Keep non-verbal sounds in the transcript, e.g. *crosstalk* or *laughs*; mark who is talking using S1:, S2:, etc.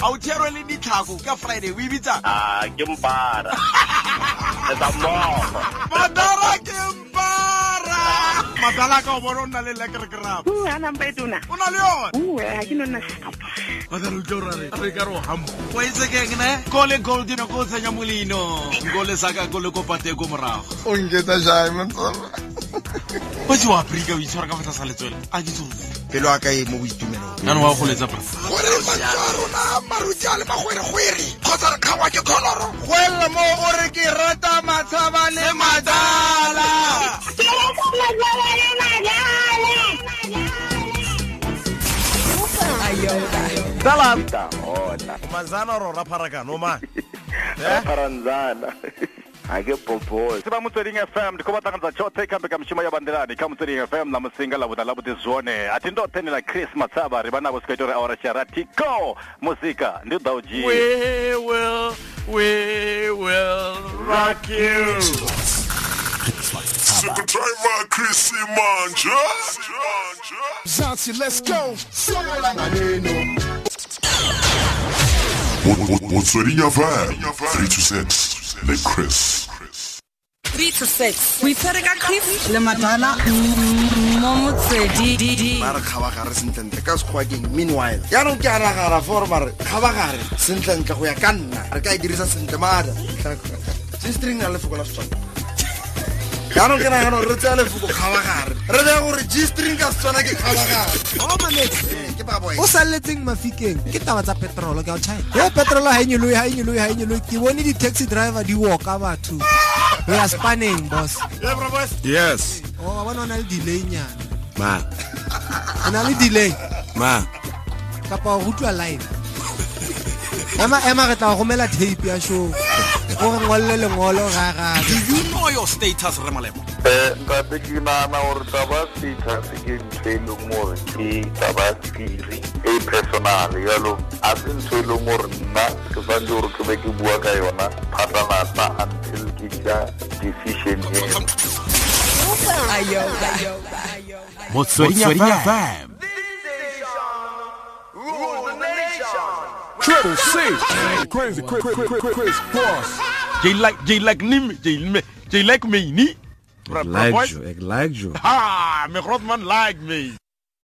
S1: a o tshwerwe le ditlhako ka friday o e bitsa
S2: Ah, ke *laughs* mpara. Etsa mmogo.
S1: madara ke mpara madara a ka o bone o nna le lekerekerapa
S3: Uh, ana mpa e tona.
S1: o na le yone
S3: Uh, ha ke no nna setlhopha.
S1: madara o tla re re ka re o hamo o etse keng ne kole gold dino ko o tshenya molino nkole saka ko le kopate ko morago
S4: o nketsa jae motsala
S1: o tse wa aforika o itshwara ka fatlha sa letswele a ke tsofe
S4: pelo a ka e mo boitumelong
S1: yanong wa go letsa pre
S4: gore mantswe a rona maruti a le magweregwere kgotsa re kgabwa ke kholoro go elela mo o re ke rata matshaba le matala
S2: Taona.
S5: mazana ro ra pharakano
S2: *laughs*
S5: man
S2: Paranzana. Ha ke popose. Siba motsweding FM ndi khou vha ṱanganedza tshoṱhe kha mbekanyamushumo ya bandelani kha motsweding FM ḽa musinga ḽa vhuḓa ḽa vhuḓi zwone a thi ndo tenela chris matsava ri vha navho swika ita uri awara tsha ratiko muzika ndi u ḓa u dzhia
S5: we will we will rock you
S6: Driver Chris Manja.
S4: zansi let's go
S6: Motsweding FM 326 le Chris.
S7: 3 to 6 o itshwere ka cliff le matala mm, mo motswedi
S4: ba re kgabagare sentlentle ka sekgowa keng meanwhile yaanong ke a nagana fore mare kgabagare sentlentle go ya ka nna re ka e dirisa sentle maada sestring na le lefoko la setswana yaanong ke nagana gore re tseya lefoko kgabagare re beye gore g string ka setswana ke kgabagare Ee, ke baboe
S8: o salletseng mafikeng ke taba tsa petrolo ka o china e petrolo ha enyoloe ha enyoloe ha enyoloe ke bone di-taxi driver di walka batho we are spanning boss
S9: Yes.
S8: o wa bona o na le delay nyana
S9: Ma.
S8: o na le delay
S9: Ma.
S8: kapa o rutwa line ema ema re tla go romela tape ya show o re ngolle lengolo ra ra
S1: you know your status re malemo
S2: ntate ke nagana gore taba status ke ntho e leng gore ke taba sephiri e personal jalo a se ntho e leng gore nna ke santse gore ke be ke bua ka yona phatanata until ke ja decision eo
S9: Motsweding FM. Triple C. Crazy, quick, quick, quick, quick, quick, boss.
S1: They like they like me they me they like me ni
S9: Like you, like you.
S1: ha me grotman like me